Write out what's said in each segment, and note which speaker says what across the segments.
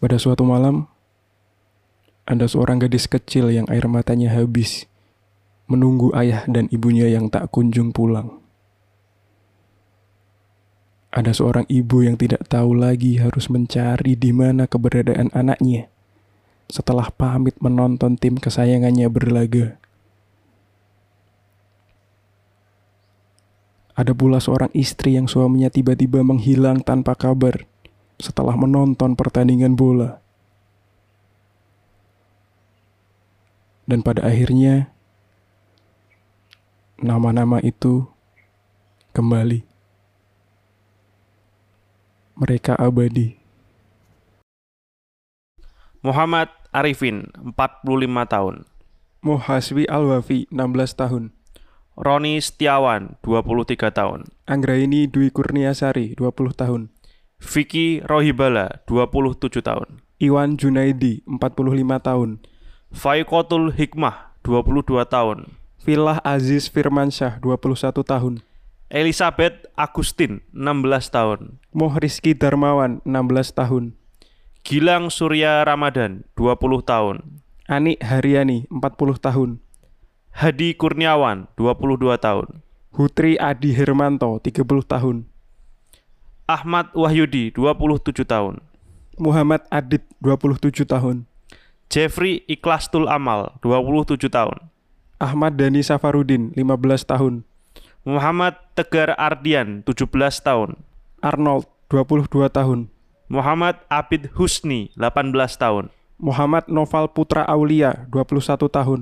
Speaker 1: Pada suatu malam, ada seorang gadis kecil yang air matanya habis, menunggu ayah dan ibunya yang tak kunjung pulang. Ada seorang ibu yang tidak tahu lagi harus mencari di mana keberadaan anaknya setelah pamit menonton tim kesayangannya berlaga. Ada pula seorang istri yang suaminya tiba-tiba menghilang tanpa kabar setelah menonton pertandingan bola. Dan pada akhirnya, nama-nama itu kembali. Mereka abadi.
Speaker 2: Muhammad Arifin, 45 tahun.
Speaker 1: Muhaswi Al-Wafi, 16 tahun.
Speaker 2: Roni Setiawan, 23 tahun.
Speaker 1: Anggraini Dwi Kurniasari, 20 tahun.
Speaker 2: Vicky Rohibala, 27 tahun.
Speaker 1: Iwan Junaidi, 45 tahun.
Speaker 2: Faikotul Hikmah, 22 tahun.
Speaker 1: Filah Aziz Firmansyah, 21 tahun.
Speaker 2: Elizabeth Agustin, 16 tahun.
Speaker 1: Mohriski Darmawan, 16 tahun.
Speaker 2: Gilang Surya Ramadan, 20 tahun.
Speaker 1: Anik Haryani, 40 tahun.
Speaker 2: Hadi Kurniawan, 22 tahun.
Speaker 1: Hutri Adi Hermanto, 30 tahun.
Speaker 2: Ahmad Wahyudi, 27 tahun.
Speaker 1: Muhammad Adit, 27 tahun.
Speaker 2: Jeffrey Ikhlastul Amal, 27 tahun.
Speaker 1: Ahmad Dani Safarudin, 15 tahun.
Speaker 2: Muhammad Tegar Ardian, 17 tahun.
Speaker 1: Arnold, 22 tahun.
Speaker 2: Muhammad Abid Husni, 18 tahun.
Speaker 1: Muhammad Noval Putra Aulia, 21 tahun.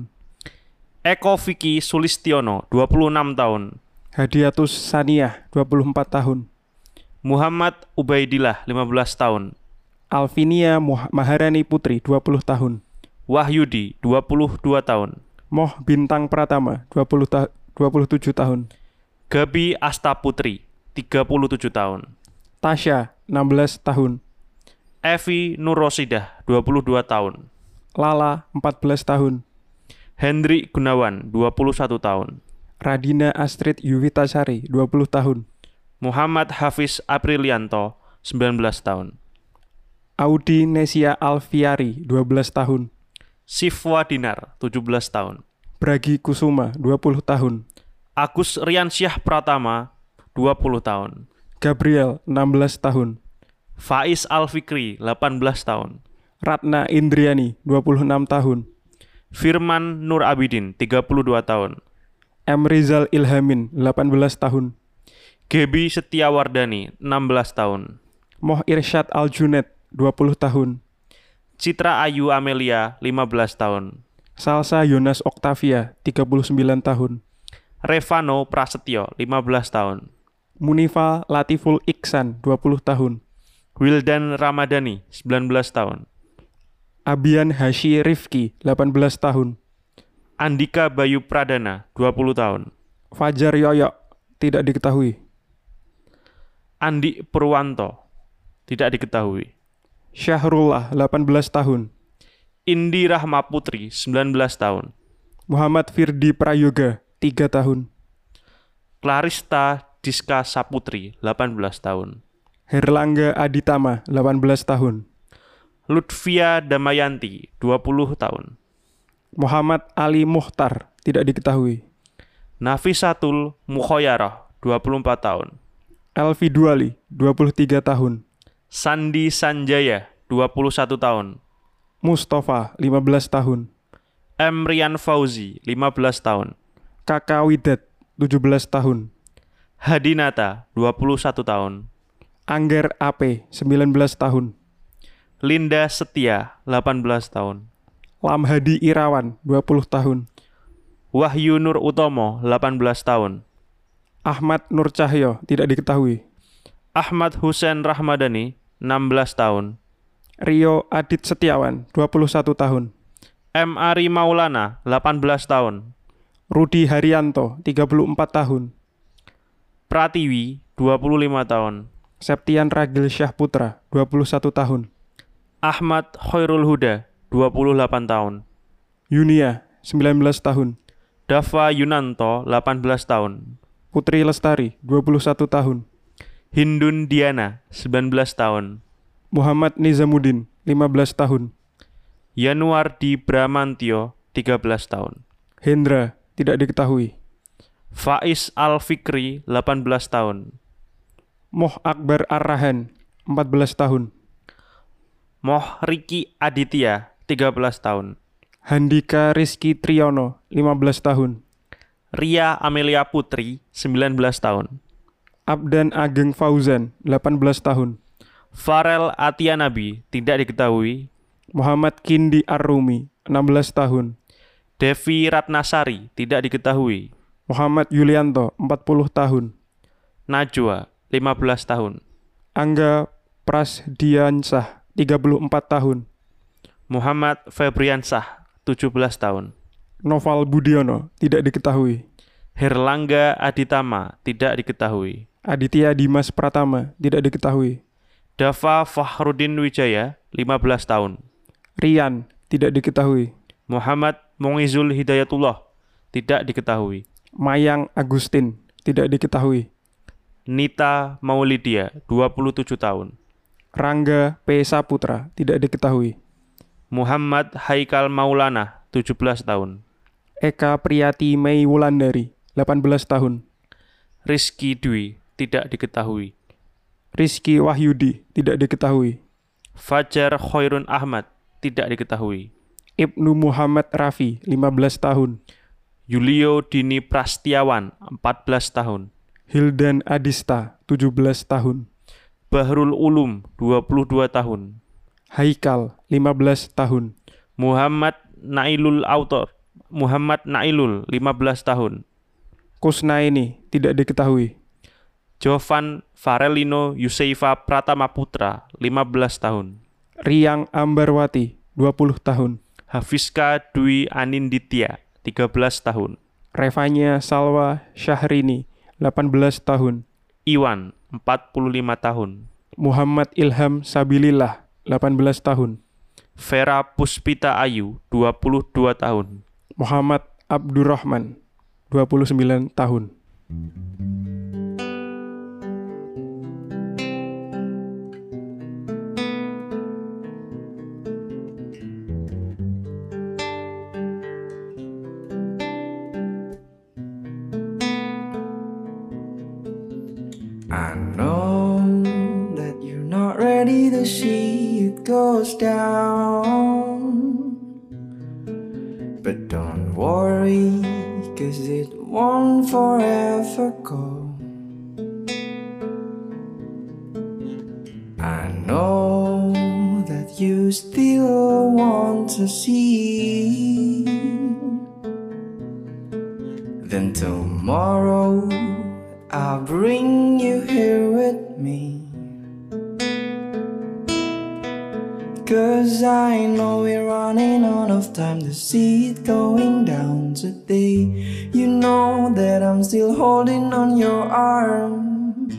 Speaker 2: Eko Vicky Sulistiono, 26 tahun.
Speaker 1: Hadiatus Saniah, 24 tahun.
Speaker 2: Muhammad Ubaidillah, 15 tahun.
Speaker 1: Alvinia Muh- Maharani Putri, 20 tahun.
Speaker 2: Wahyudi, 22 tahun.
Speaker 1: Moh Bintang Pratama, 20 ta- 27 tahun.
Speaker 2: Gabi Asta Putri, 37 tahun.
Speaker 1: Tasya, 16 tahun.
Speaker 2: Evi Nurrosidah, 22 tahun.
Speaker 1: Lala, 14 tahun.
Speaker 2: Hendri Gunawan, 21 tahun.
Speaker 1: Radina Astrid Yuwitasari, 20 tahun.
Speaker 2: Muhammad Hafiz Aprilianto, 19 tahun.
Speaker 1: Audi Nesia Alfiari, 12 tahun.
Speaker 2: Sifwa Dinar, 17 tahun.
Speaker 1: Bragi Kusuma, 20 tahun.
Speaker 2: Agus Riansyah Pratama, 20 tahun.
Speaker 1: Gabriel, 16 tahun.
Speaker 2: Faiz Alfikri, 18 tahun.
Speaker 1: Ratna Indriani, 26 tahun.
Speaker 2: Firman Nur Abidin, 32 tahun.
Speaker 1: M. Rizal Ilhamin, 18 tahun.
Speaker 2: Gebi Setiawardani, 16 tahun.
Speaker 1: Moh Irsyad Aljunet, 20 tahun.
Speaker 2: Citra Ayu Amelia, 15 tahun.
Speaker 1: Salsa Yonas Oktavia, 39 tahun.
Speaker 2: Revano Prasetyo, 15 tahun.
Speaker 1: Munifa Latiful Iksan, 20 tahun.
Speaker 2: Wildan Ramadhani, 19 tahun.
Speaker 1: Abian Hashi Rifki, 18 tahun.
Speaker 2: Andika Bayu Pradana, 20 tahun.
Speaker 1: Fajar Yoyok, tidak diketahui.
Speaker 2: Andi Purwanto, tidak diketahui.
Speaker 1: Syahrullah, 18 tahun.
Speaker 2: Indi Rahma Putri, 19 tahun.
Speaker 1: Muhammad Firdi Prayoga, 3 tahun.
Speaker 2: Clarista Diska Saputri, 18 tahun.
Speaker 1: Herlangga Aditama, 18 tahun.
Speaker 2: Lutfia Damayanti, 20 tahun.
Speaker 1: Muhammad Ali Muhtar, tidak diketahui.
Speaker 2: Nafisatul Mukhoyarah, 24 tahun.
Speaker 1: Elvi Duali, 23 tahun.
Speaker 2: Sandi Sanjaya, 21 tahun.
Speaker 1: Mustafa, 15 tahun.
Speaker 2: Emrian Fauzi, 15 tahun.
Speaker 1: Kakak Widat, 17 tahun.
Speaker 2: Hadinata, 21 tahun.
Speaker 1: Angger AP, 19 tahun.
Speaker 2: Linda Setia, 18 tahun.
Speaker 1: Lamhadi Irawan, 20 tahun.
Speaker 2: Wahyu Nur Utomo, 18 tahun.
Speaker 1: Ahmad Nur Cahyo, tidak diketahui.
Speaker 2: Ahmad Husain Rahmadani, 16 tahun.
Speaker 1: Rio Adit Setiawan, 21 tahun.
Speaker 2: M. Ari Maulana, 18 tahun.
Speaker 1: Rudi Haryanto, 34 tahun.
Speaker 2: Pratiwi, 25 tahun.
Speaker 1: Septian Ragil Syah Putra, 21 tahun.
Speaker 2: Ahmad Khairul Huda, 28 tahun.
Speaker 1: Yunia, 19 tahun.
Speaker 2: Dafa Yunanto, 18 tahun.
Speaker 1: Putri Lestari, 21 tahun.
Speaker 2: Hindun Diana, 19 tahun.
Speaker 1: Muhammad Nizamuddin, 15 tahun.
Speaker 2: Yanuardi Bramantio, 13 tahun.
Speaker 1: Hendra, tidak diketahui.
Speaker 2: Faiz Al-Fikri, 18 tahun.
Speaker 1: Moh Akbar Arrahan, 14 tahun.
Speaker 2: Moh Riki Aditya, 13 tahun.
Speaker 1: Handika Rizky Triyono, 15 tahun.
Speaker 2: Ria Amelia Putri, 19 tahun.
Speaker 1: Abdan Ageng Fauzan, 18 tahun.
Speaker 2: Farel Atianabi, tidak diketahui.
Speaker 1: Muhammad Kindi Arrumi, 16 tahun.
Speaker 2: Devi Ratnasari, tidak diketahui.
Speaker 1: Muhammad Yulianto, 40 tahun.
Speaker 2: Najwa, 15 tahun.
Speaker 1: Angga Prasdiansah, 34 tahun.
Speaker 2: Muhammad Febriansah, 17 tahun.
Speaker 1: Noval Budiono, tidak diketahui.
Speaker 2: Herlangga Aditama, tidak diketahui.
Speaker 1: Aditya Dimas Pratama, tidak diketahui.
Speaker 2: Dava Fahrudin Wijaya, 15 tahun.
Speaker 1: Rian, tidak diketahui.
Speaker 2: Muhammad Mongizul Hidayatullah, tidak diketahui.
Speaker 1: Mayang Agustin, tidak diketahui.
Speaker 2: Nita Maulidia, 27 tahun.
Speaker 1: Rangga P. Saputra, tidak diketahui.
Speaker 2: Muhammad Haikal Maulana, 17 tahun.
Speaker 1: Eka Priyati Mei Wulandari, 18 tahun.
Speaker 2: Rizky Dwi, tidak diketahui.
Speaker 1: Rizky Wahyudi, tidak diketahui.
Speaker 2: Fajar Khairun Ahmad, tidak diketahui.
Speaker 1: Ibnu Muhammad Rafi, 15 tahun.
Speaker 2: Yulio Dini Prastiawan, 14 tahun.
Speaker 1: Hildan Adista, 17 tahun.
Speaker 2: Bahrul Ulum, 22 tahun.
Speaker 1: Haikal, 15 tahun.
Speaker 2: Muhammad Nailul Autor, Muhammad Nailul, 15 tahun.
Speaker 1: Kusnaini, tidak diketahui.
Speaker 2: Jovan Farelino Yuseifa Pratama Putra, 15 tahun.
Speaker 1: Riang Ambarwati, 20 tahun.
Speaker 2: Hafiska Dwi Aninditya, 13 tahun.
Speaker 1: Revanya Salwa Syahrini, 18 tahun.
Speaker 2: Iwan, 45 tahun.
Speaker 1: Muhammad Ilham Sabilillah, 18 tahun.
Speaker 2: Vera Puspita Ayu, 22 tahun.
Speaker 1: Muhammad Abdurrahman, 29 tahun.
Speaker 3: I know that you're not ready to see it goes down. But don't worry, cause it won't forever go. I know that you still want to see then tomorrow I'll bring you here with me. Cause I know we're running out of time to see it going down today. You know that I'm still holding on your arm.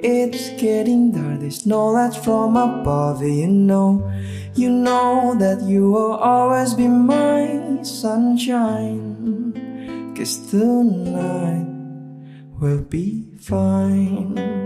Speaker 3: It's getting dark, there's no light from above, you know. You know that you will always be my sunshine. Cause tonight will be fine.